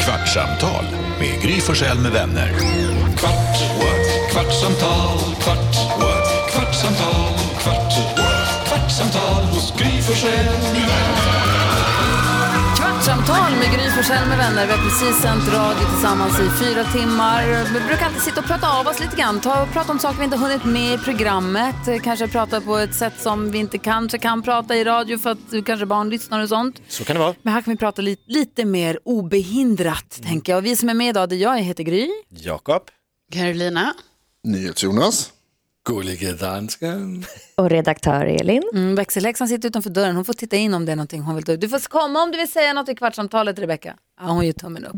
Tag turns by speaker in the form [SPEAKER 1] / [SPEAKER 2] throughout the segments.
[SPEAKER 1] Kvartsamtal med Gry Forssell med vänner. Kvart, what? kvartsamtal, kvart, what? kvartsamtal, kvart, what? kvartsamtal hos Gry Forssell med vänner.
[SPEAKER 2] Kvartsamtal med Gry Forssell med vänner. Vi har precis sänt radio tillsammans i fyra timmar. Vi brukar alltid sitta och prata av oss lite grann. Ta och prata om saker vi inte hunnit med i programmet. Eh, Kanske prata på ett sätt som vi inte kanske kan prata i radio för att eh, kanske barn lyssnar och sånt.
[SPEAKER 3] Så kan det vara.
[SPEAKER 2] Men här kan vi prata lite, lite mer obehindrat, tänker jag. Och vi som är med idag, det är jag, jag heter Gry.
[SPEAKER 3] Jakob.
[SPEAKER 2] Carolina.
[SPEAKER 4] NyhetsJonas.
[SPEAKER 5] Gullige dansken.
[SPEAKER 6] Och redaktör Elin.
[SPEAKER 2] Mm, växelhäxan sitter utanför dörren. Hon får titta in om det är någonting hon vill ta upp. Du får komma om du vill säga något i kvartsamtalet, Rebecka. Ja, hon gör tummen upp.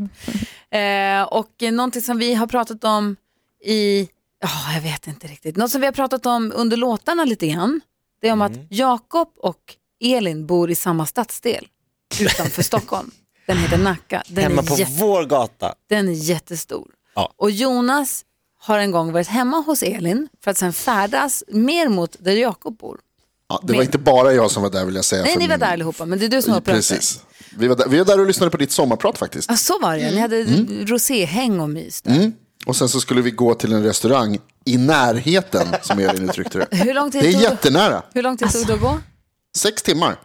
[SPEAKER 2] Eh, och eh, någonting som vi har pratat om i... Ja, jag vet inte riktigt. Något som vi har pratat om under låtarna lite grann. Det är om
[SPEAKER 3] Mm.
[SPEAKER 2] att Jakob och Elin bor i samma stadsdel utanför Stockholm. Den heter Nacka. Den
[SPEAKER 3] Hemma
[SPEAKER 2] är
[SPEAKER 3] på
[SPEAKER 2] jätte-
[SPEAKER 3] vår gata.
[SPEAKER 2] den är jättestor.
[SPEAKER 3] Ja.
[SPEAKER 2] Och Jonas har en gång varit hemma hos Elin för att sen färdas mer mot där Jakob bor.
[SPEAKER 4] Ja, det var inte bara jag som var där vill jag säga.
[SPEAKER 2] Nej,
[SPEAKER 4] för
[SPEAKER 2] ni var
[SPEAKER 4] min-
[SPEAKER 2] där allihopa, men det är du som har upprört dig.
[SPEAKER 4] Alltså, Precis. Vi var, där, vi var där och lyssnade på ditt sommarprat faktiskt.
[SPEAKER 2] Ja, så var det. Ni
[SPEAKER 4] Mm.
[SPEAKER 2] hade roséhäng och mys. där.
[SPEAKER 4] Och sen så skulle vi gå till en restaurang i närheten, som Elin uttryckte det.
[SPEAKER 2] Hur lång tid
[SPEAKER 4] Det
[SPEAKER 2] tog
[SPEAKER 4] är Alltså. jättenära.
[SPEAKER 2] Hur lång tid tog det att gå?
[SPEAKER 4] Sex timmar.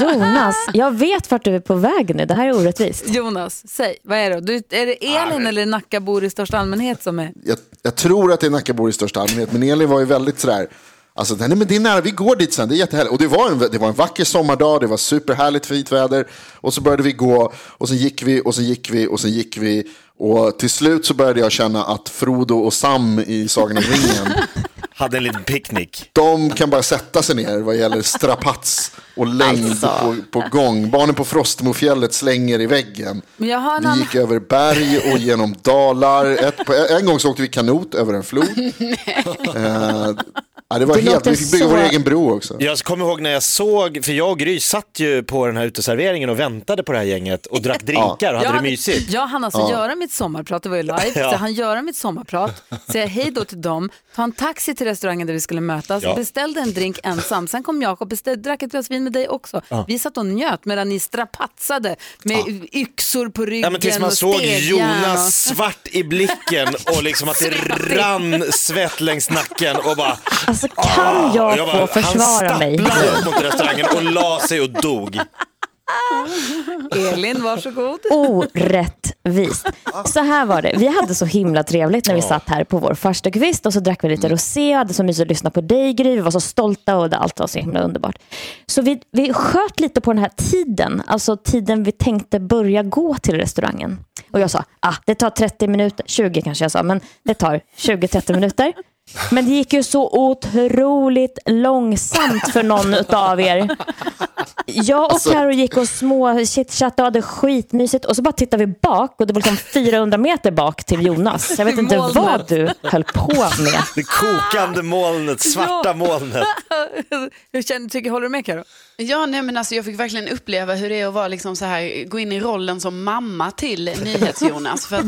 [SPEAKER 6] Jonas, jag vet vart du är på väg nu. Det här är orättvist.
[SPEAKER 2] Jonas, säg, vad är det? Du, är det Elin eller Nackabor i största allmänhet som är...
[SPEAKER 4] Jag, jag tror att det är Nackabor i största allmänhet, men Elin var ju väldigt sådär, alltså nej men det är nära, vi går dit sen, det är jättehärligt. Och det var, en, det var en vacker sommardag, det var superhärligt fint väder. Och så började vi gå, och sen gick vi, och sen gick vi, och sen gick vi. Och till slut så började jag känna att Frodo och Sam i Sagan om ringen
[SPEAKER 3] Hade en liten picknick.
[SPEAKER 4] De kan bara sätta sig ner vad gäller strapats och längd
[SPEAKER 2] Alltså.
[SPEAKER 4] på, på gång. Barnen på Frostmofjället slänger i väggen.
[SPEAKER 2] Men jag har en
[SPEAKER 4] Vi
[SPEAKER 2] annan...
[SPEAKER 4] gick över berg och genom dalar. Ett, på, en gång så åkte vi kanot över en flod. Eh, ja, det var
[SPEAKER 6] Det
[SPEAKER 4] helt,
[SPEAKER 6] låter
[SPEAKER 4] vi fick bygga vår
[SPEAKER 6] så-
[SPEAKER 4] egen bro också.
[SPEAKER 3] Jag kommer ihåg när jag såg, för jag och Gry satt ju på den här uteserveringen och väntade på det här gänget och drack drinkar och
[SPEAKER 2] Jag
[SPEAKER 3] hade det
[SPEAKER 2] hade-
[SPEAKER 3] mysigt.
[SPEAKER 2] Jag hann alltså göra mitt sommarprat, det var ju live,
[SPEAKER 3] Ja.
[SPEAKER 2] så han göra mitt sommarprat, säga hej då till dem, ta en taxi till restaurangen där vi skulle mötas,
[SPEAKER 3] Ja.
[SPEAKER 2] beställde en drink ensam, sen kom Jakob, beställ- drack ett glas vin med dig också. Vi satt och njöt medan ni strapatsade med yxor på ryggen
[SPEAKER 3] Ja, men tills man
[SPEAKER 2] och
[SPEAKER 3] såg
[SPEAKER 2] stegjärn och-
[SPEAKER 3] Jonas svart i blicken och liksom att det rann svett längs nacken och bara...
[SPEAKER 6] Alltså kan jag,
[SPEAKER 3] jag bara,
[SPEAKER 6] få försvara
[SPEAKER 3] han
[SPEAKER 6] mig?
[SPEAKER 3] stapplade upp mot restaurangen och la sig och dog.
[SPEAKER 2] Elin, varsågod.
[SPEAKER 6] Orättvist. Så här var det. Vi hade så himla trevligt när vi satt här på vår farstukvist och så drack vi lite rosé och hade så mysigt att lyssna på dig Gry. Vi var så stolta och det- allt var så himla underbart. Så vi, vi sköt lite på den här tiden, alltså tiden vi tänkte börja gå till restaurangen. Och jag sa, ah, det tar 30 minuter, 20 kanske jag sa, men det tar 20-30 minuter. Men det gick ju så otroligt långsamt för någon av er. Jag och
[SPEAKER 4] Alltså-
[SPEAKER 6] Karo gick och små chitchattade och hade skitmysigt och så bara tittade vi bak och det var liksom 400 meter bak till Jonas. Jag vet
[SPEAKER 2] Till
[SPEAKER 6] inte
[SPEAKER 2] molnet.
[SPEAKER 6] vad du höll på med.
[SPEAKER 3] Det kokande molnet, svarta molnet.
[SPEAKER 2] Hur känner, tycker, håller du med Karo?
[SPEAKER 7] Ja, nej, men alltså, jag fick verkligen uppleva hur det är att vara liksom så här, gå in i rollen som mamma till NyhetsJonas. För att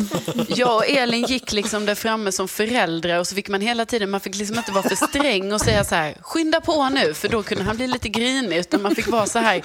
[SPEAKER 7] jag och Elin gick liksom där framme som föräldrar och så fick man hela tiden, man fick liksom inte vara för sträng och säga så här, skynda på nu, för då kunde han bli lite grinig, utan man fick vara så här,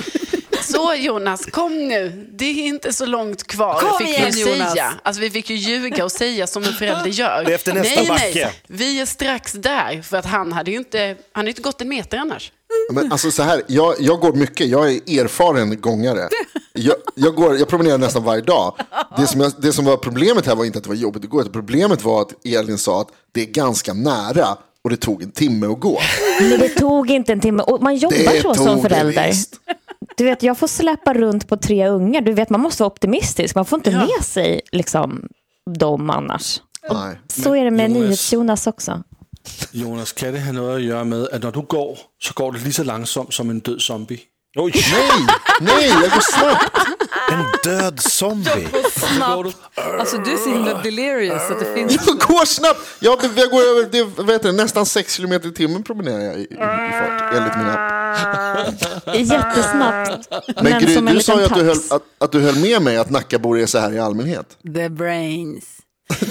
[SPEAKER 7] så Jonas, kom nu, det är inte så långt kvar.
[SPEAKER 2] Kom
[SPEAKER 7] fick
[SPEAKER 2] igen,
[SPEAKER 7] vi
[SPEAKER 2] Jonas.
[SPEAKER 7] säga. Alltså, vi fick ju ljuga och säga som en förälder gör.
[SPEAKER 3] Det är efter nästa
[SPEAKER 7] nej,
[SPEAKER 3] backe.
[SPEAKER 7] nej, vi är strax där, för att han hade ju inte, han hade ju inte gått en meter annars.
[SPEAKER 4] Men alltså så här, jag, jag går mycket, jag är erfaren gångare. Jag, jag, går, jag promenerar nästan varje dag. Det som, jag, det som var problemet här var inte att det var jobbigt att gå, utan problemet var att Elin sa att det är ganska nära och det tog en timme att gå.
[SPEAKER 6] Men det tog inte en timme. Och man jobbar
[SPEAKER 4] Det
[SPEAKER 6] så
[SPEAKER 4] tog
[SPEAKER 6] som
[SPEAKER 4] det
[SPEAKER 6] förälder.
[SPEAKER 4] visst.
[SPEAKER 6] Du vet, jag får släppa runt på tre ungar. Du vet, man måste vara optimistisk. Man får inte med sig liksom, dem annars.
[SPEAKER 4] Nej.
[SPEAKER 6] Så är det med
[SPEAKER 5] Jonas-
[SPEAKER 6] NyhetsJonas också.
[SPEAKER 5] Jonas, kan det ha noget at gøre med, at når du går, så går det lige så langsomt som en død zombie?
[SPEAKER 3] Oj,
[SPEAKER 4] Nej, nej, jag går snabbt.
[SPEAKER 3] en död zombie.
[SPEAKER 2] Snabbt. Alltså du är så himla delirious så att det finns...
[SPEAKER 4] Jag går snabbt. Jag, be- jag går över, det, vad heter det, nästan 6 km i timmen promenerar jag i, i, i fart, enligt min app.
[SPEAKER 6] Jättesnabbt.
[SPEAKER 4] Men Gry,
[SPEAKER 6] som en
[SPEAKER 4] du sa ju
[SPEAKER 6] liten
[SPEAKER 4] att du, höll,
[SPEAKER 6] tax.
[SPEAKER 4] att, att du höll med mig att Nackabor är så här i allmänhet.
[SPEAKER 2] The brains.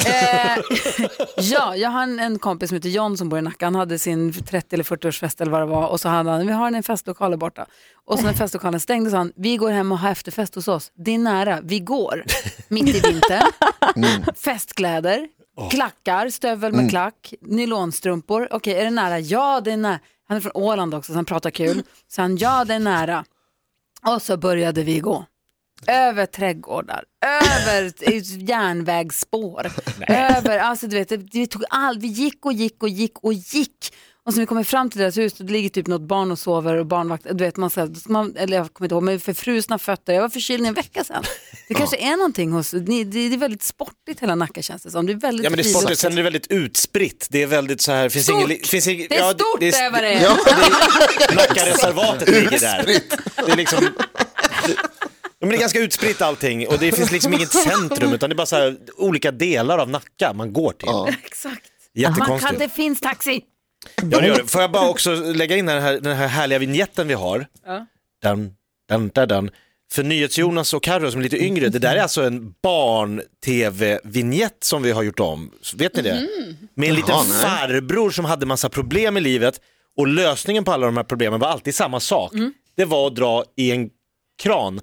[SPEAKER 2] Eh, ja, jag har en, en kompis som heter John som bor i Nacka. Han hade sin 30 eller 40-årsfest eller vad det var och så hade han, vi har en festlokal där borta. Och så när festlokalen stängdes sa han, vi går hem och har efterfest hos oss. Det är nära, vi går. Mitt i vintern. Festkläder, klackar, stövel med klack, nylonstrumpor. Okej, är det nära? Ja, det är nära. Han är från Åland också så han pratar kul. Så han, ja det är nära. Och så började vi gå. Över trädgårdar, över järnvägsspår, över, alltså du vet, det- vi tog all, vi gick och gick och gick och gick. Och så vi kommer fram till deras hus, då ligger typ något barn och sover och barnvakt, du vet man, så här, då ska man eller jag kommer inte ihåg, men förfrusna fötter, jag var förkyld i en vecka sedan. Det kanske är någonting hos, ni- det det är väldigt sportigt hela Nacka känns det som, det är väldigt
[SPEAKER 3] Ja men det är
[SPEAKER 2] frilufts-
[SPEAKER 3] sportigt, sen är det väldigt utspritt. Det är väldigt så här, finns ingen... li- Finns ingen,
[SPEAKER 2] Det är
[SPEAKER 3] ja,
[SPEAKER 2] stort det är vad det är.
[SPEAKER 3] Nackareservatet ligger där. Det är liksom... det- Ja, men det är ganska utspritt allting och det finns liksom inget centrum utan det är bara så här, olika delar av Nacka man går till.
[SPEAKER 2] Exakt. Man kan,
[SPEAKER 3] Jättekonstigt.
[SPEAKER 2] det finns taxi.
[SPEAKER 3] Ja, det gör det. Får jag bara också lägga in den här, den här härliga vignetten vi har.
[SPEAKER 2] Ja.
[SPEAKER 3] Den, den, den, den. För NyhetsJonas och Carro som är lite yngre, det där är alltså en barn-tv-vignett som vi har gjort om. Vet ni det?
[SPEAKER 2] Mhm.
[SPEAKER 3] Med en liten
[SPEAKER 4] Jaha, nej.
[SPEAKER 3] farbror som hade massa problem i livet och lösningen på alla de här problemen var alltid samma sak.
[SPEAKER 2] Mm.
[SPEAKER 3] Det var att dra i en kran,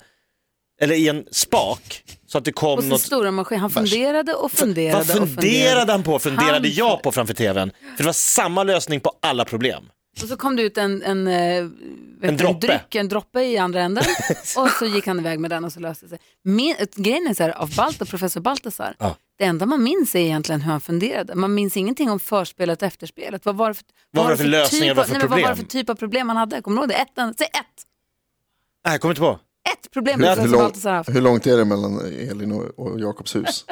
[SPEAKER 3] eller i en spak, så att det kom
[SPEAKER 2] Och så
[SPEAKER 3] något
[SPEAKER 2] stora maskin, han funderade och funderade
[SPEAKER 3] vad
[SPEAKER 2] och funderade.
[SPEAKER 3] funderade han på? Funderade
[SPEAKER 2] Han-
[SPEAKER 3] jag på framför tvn? För det var samma lösning på alla problem.
[SPEAKER 2] Och så kom det ut en, en, eh, vet, en
[SPEAKER 3] droppe.
[SPEAKER 2] dryck, en droppe i andra änden. och så gick han iväg med den och så löste det sig. Min, ett- grejen är så här, av Balta, professor Baltasar,
[SPEAKER 3] Ja.
[SPEAKER 2] det enda man minns är egentligen hur han funderade. Man minns ingenting om förspelet och efterspelet. Vad var det för,
[SPEAKER 3] Vad var det för lösningar,
[SPEAKER 2] typ av-
[SPEAKER 3] vad för
[SPEAKER 2] nej, men Vad var det
[SPEAKER 3] problem?
[SPEAKER 2] för typ av problem han hade? Kommer du ihåg det? Ett, en- säg ett!
[SPEAKER 3] Nej, jag kommer inte på.
[SPEAKER 2] Ett problem
[SPEAKER 3] Men-
[SPEAKER 2] professor
[SPEAKER 4] Hur, lång,
[SPEAKER 2] Baltasar haft.
[SPEAKER 4] hur långt är det mellan Elin och, och Jakobs hus?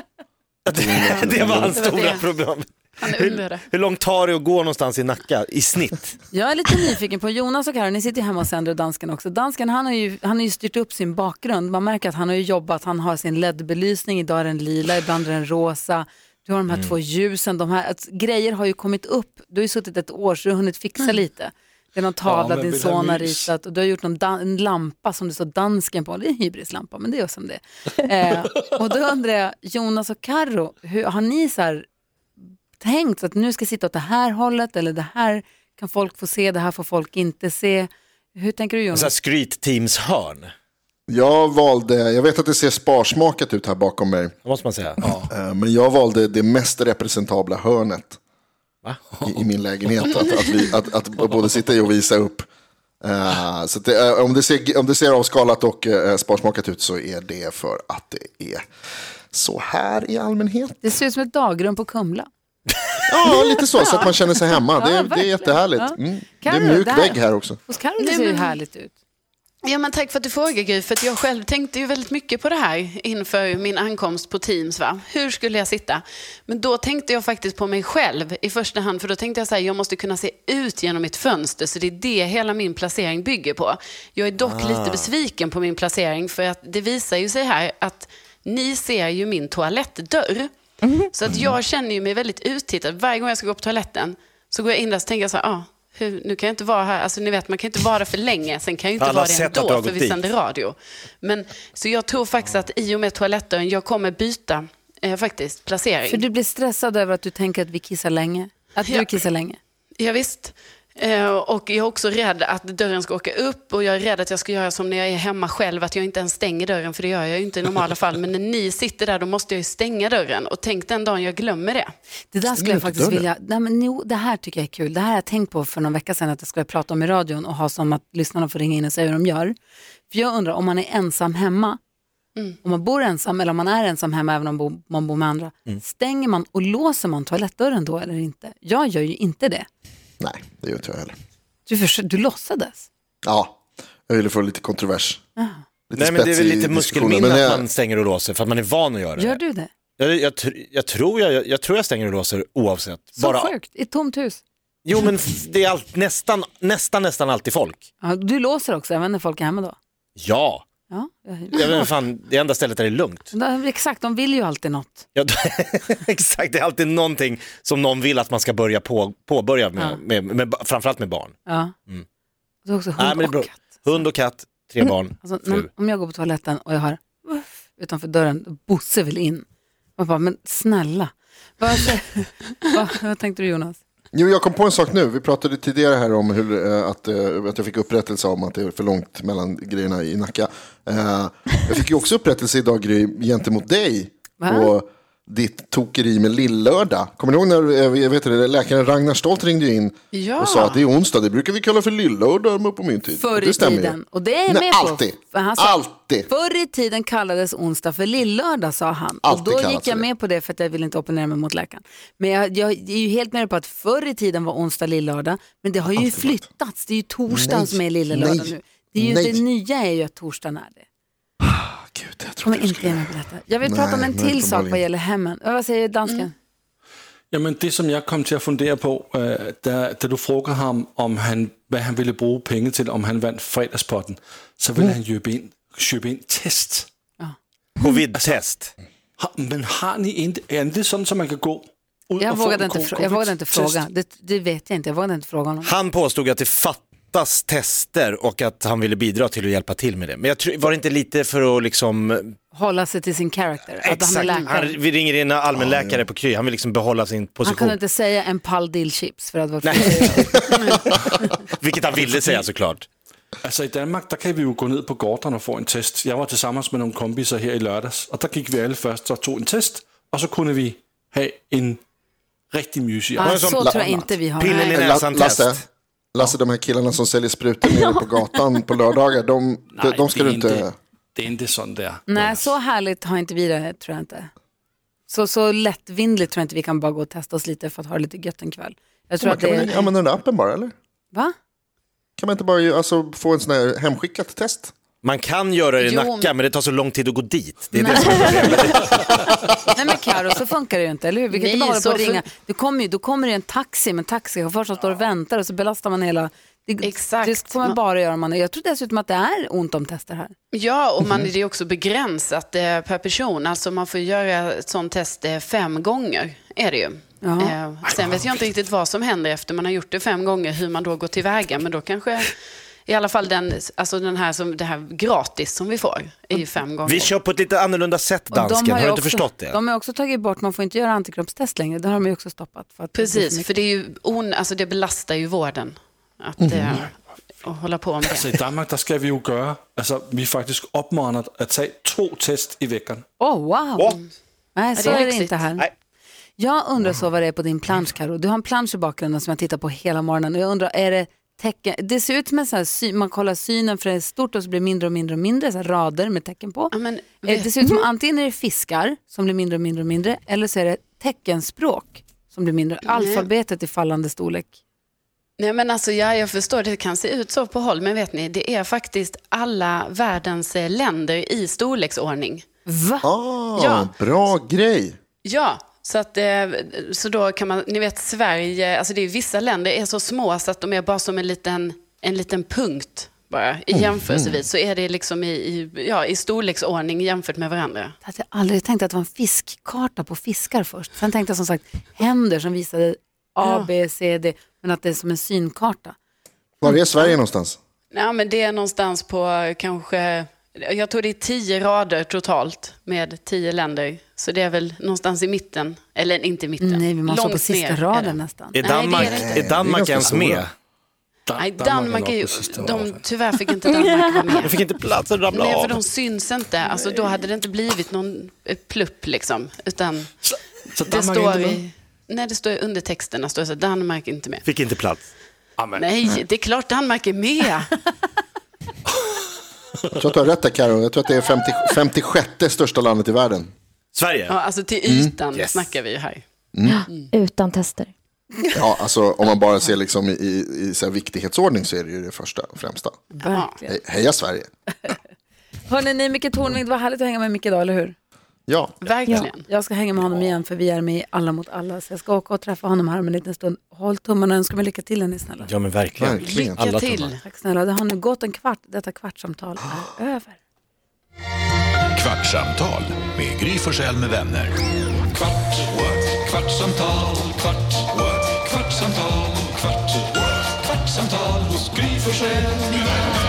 [SPEAKER 3] Det var hans
[SPEAKER 7] Det var
[SPEAKER 3] stora
[SPEAKER 7] det.
[SPEAKER 3] problem.
[SPEAKER 7] Han undrade.
[SPEAKER 3] Hur långt tar det att gå någonstans i Nacka i snitt?
[SPEAKER 2] Jag är lite nyfiken på Jonas och Karin, ni sitter ju hemma och sänder och dansken också. Dansken han har, ju, han har ju styrt upp sin bakgrund. Man märker att han har ju jobbat, han har sin LED-belysning, idag är den lila, ibland är den rosa. Du har de här två ljusen, de här, att, grejer har ju kommit upp. Du har ju suttit ett år så du har hunnit fixa lite. Det är någon tavla
[SPEAKER 5] men
[SPEAKER 2] din
[SPEAKER 5] vill
[SPEAKER 2] son
[SPEAKER 5] ha
[SPEAKER 2] har
[SPEAKER 5] mys?
[SPEAKER 2] ritat och du har gjort någon dan- en lampa som du sa dansken på. Det är en hybrislampa men det är som det är. eh, Och då undrar jag, Jonas och Karo, hur har ni så här tänkt så att nu ska sitta åt det här hållet eller det här kan folk få se, det här får folk inte se. Hur tänker du
[SPEAKER 3] Så här
[SPEAKER 2] Jonas?
[SPEAKER 3] skrytteamshörn,
[SPEAKER 4] Jag valde, jag vet att det ser sparsmakat ut här bakom mig,
[SPEAKER 3] det måste man säga. Ja.
[SPEAKER 4] eh, men jag valde det mest representabla hörnet
[SPEAKER 3] Va?
[SPEAKER 4] i, i min lägenhet. Att, att, vi, att, att både sitta i och visa upp. Eh, så att det, eh, om, det ser, om det ser avskalat och eh, sparsmakat ut så är det för att det är så här i allmänhet.
[SPEAKER 2] Det ser ut som ett dagrum på Kumla.
[SPEAKER 4] Ja, lite så, så att man känner sig hemma.
[SPEAKER 2] Ja,
[SPEAKER 4] Det, är- det är
[SPEAKER 2] verkligen.
[SPEAKER 4] jättehärligt.
[SPEAKER 2] Ja.
[SPEAKER 4] Mm. Det
[SPEAKER 2] Kan
[SPEAKER 4] är
[SPEAKER 2] du?
[SPEAKER 4] mjuk
[SPEAKER 2] Det här-
[SPEAKER 4] vägg här också.
[SPEAKER 2] Hos Carro det
[SPEAKER 7] Nej,
[SPEAKER 2] ser ju
[SPEAKER 7] men-
[SPEAKER 2] härligt ut.
[SPEAKER 7] Ja, men tack för att du frågar Gry, för att jag själv tänkte ju väldigt mycket på det här inför min ankomst på Teams. Va? Hur skulle jag sitta? Men då tänkte jag faktiskt på mig själv i första hand, för då tänkte jag så här, jag måste kunna se ut genom mitt fönster, så det är det hela min placering bygger på. Jag är dock lite besviken på min placering, för att det visar ju sig här att ni ser ju min toalettdörr. Så att jag känner ju mig väldigt uttittad. Varje gång jag ska gå på toaletten så går jag in där och tänker jag så här, ah, hur, nu kan jag inte vara här. Alltså ni vet, man kan inte vara där för länge. Sen kan jag ju inte
[SPEAKER 3] Alla
[SPEAKER 7] vara
[SPEAKER 3] har
[SPEAKER 7] det
[SPEAKER 3] sett att du
[SPEAKER 7] ändå,
[SPEAKER 3] har
[SPEAKER 7] för
[SPEAKER 3] gått
[SPEAKER 7] vi
[SPEAKER 3] dit.
[SPEAKER 7] sänder radio. Men, så jag tror faktiskt att i och med toalettdörren, jag kommer byta eh, faktiskt placering.
[SPEAKER 2] För du blir stressad över att du tänker att vi kissar länge. Att du
[SPEAKER 7] Ja.
[SPEAKER 2] kissar länge.
[SPEAKER 7] Ja, visst. Eh, Och jag är också rädd att dörren ska åka upp och jag är rädd att jag ska göra som när jag är hemma själv, att jag inte ens stänger dörren, för det gör jag ju inte i normala fall. Men när ni sitter där, då måste jag ju stänga dörren. Och tänk den dagen jag glömmer det.
[SPEAKER 2] Det där skulle jag faktiskt vilja, nej men jo, det här tycker jag är kul. Det här har jag tänkt på för någon vecka sedan att jag skulle prata om i radion och ha som att lyssnarna får ringa in och säga hur de gör. För jag undrar om man är ensam hemma, om man bor ensam eller om man är ensam hemma även om bo- man bor med andra,
[SPEAKER 3] Mm.
[SPEAKER 2] stänger man och låser man toalettdörren då eller inte? Jag gör ju inte det.
[SPEAKER 4] Nej, det gör inte jag heller.
[SPEAKER 2] Du, förs- du låtsades.
[SPEAKER 4] Ja, jag ville få lite kontrovers. Lite
[SPEAKER 3] Nej men det är väl
[SPEAKER 4] spets i
[SPEAKER 3] lite
[SPEAKER 4] diskussionen,
[SPEAKER 3] muskelminne
[SPEAKER 4] men eh,
[SPEAKER 3] att
[SPEAKER 4] jag-
[SPEAKER 3] man stänger och låser för att man är van att göra
[SPEAKER 2] Gör
[SPEAKER 3] det.
[SPEAKER 2] du det?
[SPEAKER 3] Jag, jag, tr- jag, tror jag, jag tror jag stänger och låser oavsett.
[SPEAKER 2] Så sjukt, i ett tomt hus.
[SPEAKER 3] Jo men f- det är allt, nästan, nästan, nästan alltid folk.
[SPEAKER 2] Ja, du låser också även när folk är hemma då?
[SPEAKER 3] Ja,
[SPEAKER 2] Ja,
[SPEAKER 3] jag vet, inte, fan, det enda stället där det är lugnt.
[SPEAKER 2] ja. exakt, de vill ju alltid något.
[SPEAKER 3] Ja, exakt, det är alltid någonting som någon vill att man ska börja på, påbörja med,
[SPEAKER 2] Ja.
[SPEAKER 3] med, med, ba- framförallt med barn.
[SPEAKER 2] Ja.
[SPEAKER 3] Mm.
[SPEAKER 2] Och så också hund
[SPEAKER 3] Nej, men det
[SPEAKER 2] och
[SPEAKER 3] beror-
[SPEAKER 2] katt.
[SPEAKER 3] Hund och katt, tre barn,
[SPEAKER 2] Alltså,
[SPEAKER 3] fru.
[SPEAKER 2] om- om jag går på toaletten och jag hör uff, utanför dörren, Bosse vill in. Man bara, men snälla. Vad, vad, vad tänkte du Jonas?
[SPEAKER 4] Jo, jag kom på en sak nu. Vi pratade tidigare här om hur, eh, att, eh, att jag fick upprättelse om att det är för långt mellan grejerna i Nacka. Eh, jag fick ju också upprättelse idag Gry, gentemot dig.
[SPEAKER 2] Va?
[SPEAKER 4] Och ditt tokeri med lillördag. Kommer ni ihåg när eh, jag vet det, läkaren Ragnar Stolt ringde in
[SPEAKER 7] Ja.
[SPEAKER 4] och sa att det är onsdag, det brukar vi kalla för lillördag på min tid.
[SPEAKER 2] Förr
[SPEAKER 4] det
[SPEAKER 2] i
[SPEAKER 4] stämmer ju.
[SPEAKER 2] tiden. Och det är jag
[SPEAKER 4] Nej,
[SPEAKER 2] med
[SPEAKER 4] alltid.
[SPEAKER 2] på. Han sa,
[SPEAKER 4] Alltid.
[SPEAKER 2] Förr i tiden kallades onsdag för lillördag sa han.
[SPEAKER 4] Alltid
[SPEAKER 2] och då
[SPEAKER 4] kallat
[SPEAKER 2] gick
[SPEAKER 4] för
[SPEAKER 2] jag
[SPEAKER 4] det.
[SPEAKER 2] med på det för att jag ville inte opponera mig mot läkaren. Men jag, jag är ju helt med dig på att förr i tiden var onsdag lillördag. Men det har ju flyttats. Det är ju torsdagen
[SPEAKER 4] Nej.
[SPEAKER 2] som är lillördag
[SPEAKER 4] Nej.
[SPEAKER 2] nu. Det, är ju,
[SPEAKER 4] Nej.
[SPEAKER 2] det nya är ju att torsdagen är det.
[SPEAKER 4] Gud, jag trodde
[SPEAKER 2] Kommer
[SPEAKER 4] jag
[SPEAKER 2] inte
[SPEAKER 4] skulle...
[SPEAKER 2] gärna berätta. Jag vill
[SPEAKER 4] Nej,
[SPEAKER 2] prata om en
[SPEAKER 4] nej,
[SPEAKER 2] till sak vad
[SPEAKER 4] uppenbarligen.
[SPEAKER 2] gäller hemmen. Ja, Vad säger dansken?
[SPEAKER 5] Jamen det som jag kom till att fundera på, äh, da, da du frågade honom om han, vad han ville bruge pengar till om han vann fredagspotten, så ville han köpa in, köpa in test.
[SPEAKER 3] Covid-test.
[SPEAKER 5] Har- Men har ni inte, är det sånt som man kan gå ut
[SPEAKER 2] Jag
[SPEAKER 5] och få
[SPEAKER 2] vågade,
[SPEAKER 5] en
[SPEAKER 2] inte,
[SPEAKER 5] co-
[SPEAKER 2] frå- jag vågade inte
[SPEAKER 5] covid-test?
[SPEAKER 2] fråga. Det, det vet jag inte. Jag vågade inte fråga honom.
[SPEAKER 3] Han påstod att det fattas tester och att han ville bidra till att hjälpa till med det. Men jag tror, var det inte lite för att liksom
[SPEAKER 2] Hålla sig till sin character. Att han är
[SPEAKER 3] Exakt, han,
[SPEAKER 2] läkare.
[SPEAKER 3] vi ringer in en allmänläkare på Kry, han vill liksom behålla sin
[SPEAKER 2] Han
[SPEAKER 3] position.
[SPEAKER 2] kunde inte säga en pall dillchips för att vara
[SPEAKER 3] Vilket han ville säga
[SPEAKER 2] Mm.
[SPEAKER 3] såklart.
[SPEAKER 5] Altså i Danmark, der kan vi jo gå ned på gården og få en test. Jeg var tillsammans med nogle kompiser her i lørdags, og der gik vi alle først og tog en test, og så kunne vi have en rigtig mysig
[SPEAKER 2] Ja,
[SPEAKER 5] aften.
[SPEAKER 2] så tror jag inte vi har.
[SPEAKER 3] Pillen i
[SPEAKER 2] Nej.
[SPEAKER 4] Eh, La-
[SPEAKER 3] näsan-test.
[SPEAKER 4] Lasse, Lasse, de här killarna som säljer sprutor nere på gatan på lördagar, de, de, de ska
[SPEAKER 5] det
[SPEAKER 4] du
[SPEAKER 5] er
[SPEAKER 4] inte...
[SPEAKER 5] ikke- Det er ikke sådan der.
[SPEAKER 2] Nej, så härligt har inte vi det, tror jag inte. Så, så lättvindligt tror jag inte vi kan bara gå och testa oss lite för att ha det lite gött en kväll. Jag tror
[SPEAKER 4] Man
[SPEAKER 2] att
[SPEAKER 4] kan
[SPEAKER 2] det
[SPEAKER 4] väl använda den där appen bara, eller?
[SPEAKER 2] Va?
[SPEAKER 4] Kan man inte bara ju- alltså, få en sån här hemskickat test?
[SPEAKER 3] Man kan göra det i
[SPEAKER 7] Jo,
[SPEAKER 3] Nacka, men det tar så lång tid att gå dit. Det är det
[SPEAKER 2] Nej.
[SPEAKER 3] som är problemet.
[SPEAKER 2] Nej men Karo, så funkar det ju inte, eller hur? Vi kan inte
[SPEAKER 7] Nej,
[SPEAKER 2] bara hålla på
[SPEAKER 7] så
[SPEAKER 2] och ringa.
[SPEAKER 7] fun-
[SPEAKER 2] Du kommer ju, då kommer det en taxi med en taxichaufför som står och väntar och så belastar man hela... Det,
[SPEAKER 7] Exakt.
[SPEAKER 2] Det får man bara göra om man... Jag tror dessutom att det är ont om tester här.
[SPEAKER 7] Ja, och
[SPEAKER 3] Mm.
[SPEAKER 7] man, det är också begränsat eh, per person. Alltså man får göra ett sånt test eh, fem gånger, är det ju.
[SPEAKER 2] Ja.
[SPEAKER 7] Eh, sen vet jag inte riktigt vad som händer efter man har gjort det fem gånger, hur man då går tillväga. Men då kanske, i alla fall den, alltså den här, som, det här gratis som vi får, är ju fem gånger.
[SPEAKER 3] Mm. Vi kör på ett lite annorlunda sätt,
[SPEAKER 2] Och de
[SPEAKER 3] dansken. Har
[SPEAKER 2] ju
[SPEAKER 3] du inte
[SPEAKER 2] också-
[SPEAKER 3] förstått det?
[SPEAKER 2] De har också tagit bort, man får inte göra antikroppstest längre. Det har de ju också stoppat. För att det blir för
[SPEAKER 7] Precis,
[SPEAKER 3] Mm.
[SPEAKER 2] mycket.
[SPEAKER 7] för det, är ju on, alltså det belastar ju vården att,
[SPEAKER 3] Mm.
[SPEAKER 7] eh, att hålla på med det.
[SPEAKER 3] Alltså-
[SPEAKER 5] Altså i Danmark, der skal vi jo gøre, altså vi er faktisk opmuntret at tage to test i veckan.
[SPEAKER 2] Åh, wow! Nej, så
[SPEAKER 7] det är
[SPEAKER 2] är det
[SPEAKER 7] lyxigt.
[SPEAKER 2] inte här. Jag undrar så vad det är på din plansch, Karo. Du har en plansch i bakgrunden som jag tittar på hela morgonen. Och jag undrar, är det tecken? Det ser ut som en sån här sy- man kollar synen för det är stort och så blir det mindre och mindre och mindre, så här rader med tecken på.
[SPEAKER 7] Ja, men,
[SPEAKER 2] Eh, Det ser ut som antingen är det fiskar som blir mindre och mindre och mindre, eller så är det teckenspråk som blir mindre. Alfabetet i fallande storlek.
[SPEAKER 7] Nej men alltså ja, jag förstår, det kan se ut så på håll, men vet ni, det är faktiskt alla världens eh, länder i storleksordning.
[SPEAKER 2] Va?
[SPEAKER 4] Ah,
[SPEAKER 7] Ja.
[SPEAKER 4] Bra grej.
[SPEAKER 7] Ja, så att, eh, så då kan man, ni vet Sverige, alltså det är vissa länder är så små så att de är bara som en liten, en liten punkt bara
[SPEAKER 2] Mm,
[SPEAKER 7] i jämförelsevis. Så är det liksom i, i, ja, i storleksordning jämfört med varandra.
[SPEAKER 2] Jag hade aldrig tänkt att det var en fiskkarta på fiskar först. Sen tänkte jag som sagt händer som visade A, B, C, D, men att det är som en synkarta.
[SPEAKER 4] Var är Sverige någonstans?
[SPEAKER 7] Ja, men det är någonstans på eh, kanske, jag tror det är tio rader totalt med tio länder. Så det är väl någonstans i mitten, eller inte i mitten.
[SPEAKER 2] Nej, vi måste vara på
[SPEAKER 7] Långt ner
[SPEAKER 2] sista
[SPEAKER 7] är det.
[SPEAKER 2] raden nästan.
[SPEAKER 3] Är
[SPEAKER 7] Nej, det är
[SPEAKER 3] Danmark,
[SPEAKER 7] det inte.
[SPEAKER 3] är Danmark
[SPEAKER 4] ganska
[SPEAKER 3] ens
[SPEAKER 4] stora.
[SPEAKER 3] med?
[SPEAKER 5] Der,
[SPEAKER 7] Nej,
[SPEAKER 5] Danmark er
[SPEAKER 7] Danmark är
[SPEAKER 5] nok
[SPEAKER 7] ju,
[SPEAKER 5] på sidste
[SPEAKER 7] de,
[SPEAKER 5] overfald.
[SPEAKER 7] tyvärr fick inte Danmark
[SPEAKER 3] Jag
[SPEAKER 7] vara med.
[SPEAKER 3] fick inte plats att ramla
[SPEAKER 7] Nej, för
[SPEAKER 3] av.
[SPEAKER 7] de syns inte. Alltså, då hade det inte blivit någon eh, plupp liksom. Utan
[SPEAKER 5] Så, så
[SPEAKER 7] det
[SPEAKER 5] Danmark er
[SPEAKER 7] står
[SPEAKER 5] ikke med?
[SPEAKER 7] i... Nej, det står i undertexterna, står det så här, Danmark är inte med.
[SPEAKER 3] Fick inte plats.
[SPEAKER 7] Nej, det är klart Danmark är med.
[SPEAKER 4] Jag tror att du har rätt där, Karo. Jag tror att det är 50, 56 största landet i världen.
[SPEAKER 3] Sverige?
[SPEAKER 7] Ja, alltså till ytan
[SPEAKER 3] Mm. Yes.
[SPEAKER 7] snackar vi ju här.
[SPEAKER 6] Utan tester.
[SPEAKER 4] Ja, alltså, om man bara ser liksom i, i, i så här viktighetsordning så är det ju det första och främsta.
[SPEAKER 2] Verkligen.
[SPEAKER 4] He, heja Sverige.
[SPEAKER 2] Hörrni, ni, Micke Tornving, det var härligt att hänga med Micke idag, eller hur?
[SPEAKER 4] Ja,
[SPEAKER 7] Verkligen.
[SPEAKER 2] Jag ska hänga med honom igen för vi är med i Alla mot alla. Så jag ska åka och träffa honom här om en liten stund. Håll tummarna och önska mig lycka till, är ni snälla.
[SPEAKER 3] Ja men verkligen.
[SPEAKER 4] verkligen.
[SPEAKER 7] Lycka
[SPEAKER 3] Alla
[SPEAKER 7] till.
[SPEAKER 3] tummar.
[SPEAKER 2] Tack snälla. Det har nu gått en kvart. Detta kvartssamtal är över.
[SPEAKER 1] Kvartsamtal med Gry Forssell med vänner. Kvart, what? kvartsamtal, kvart, what? kvartsamtal, kvart, what? kvartsamtal hos Gry Forssell med vänner.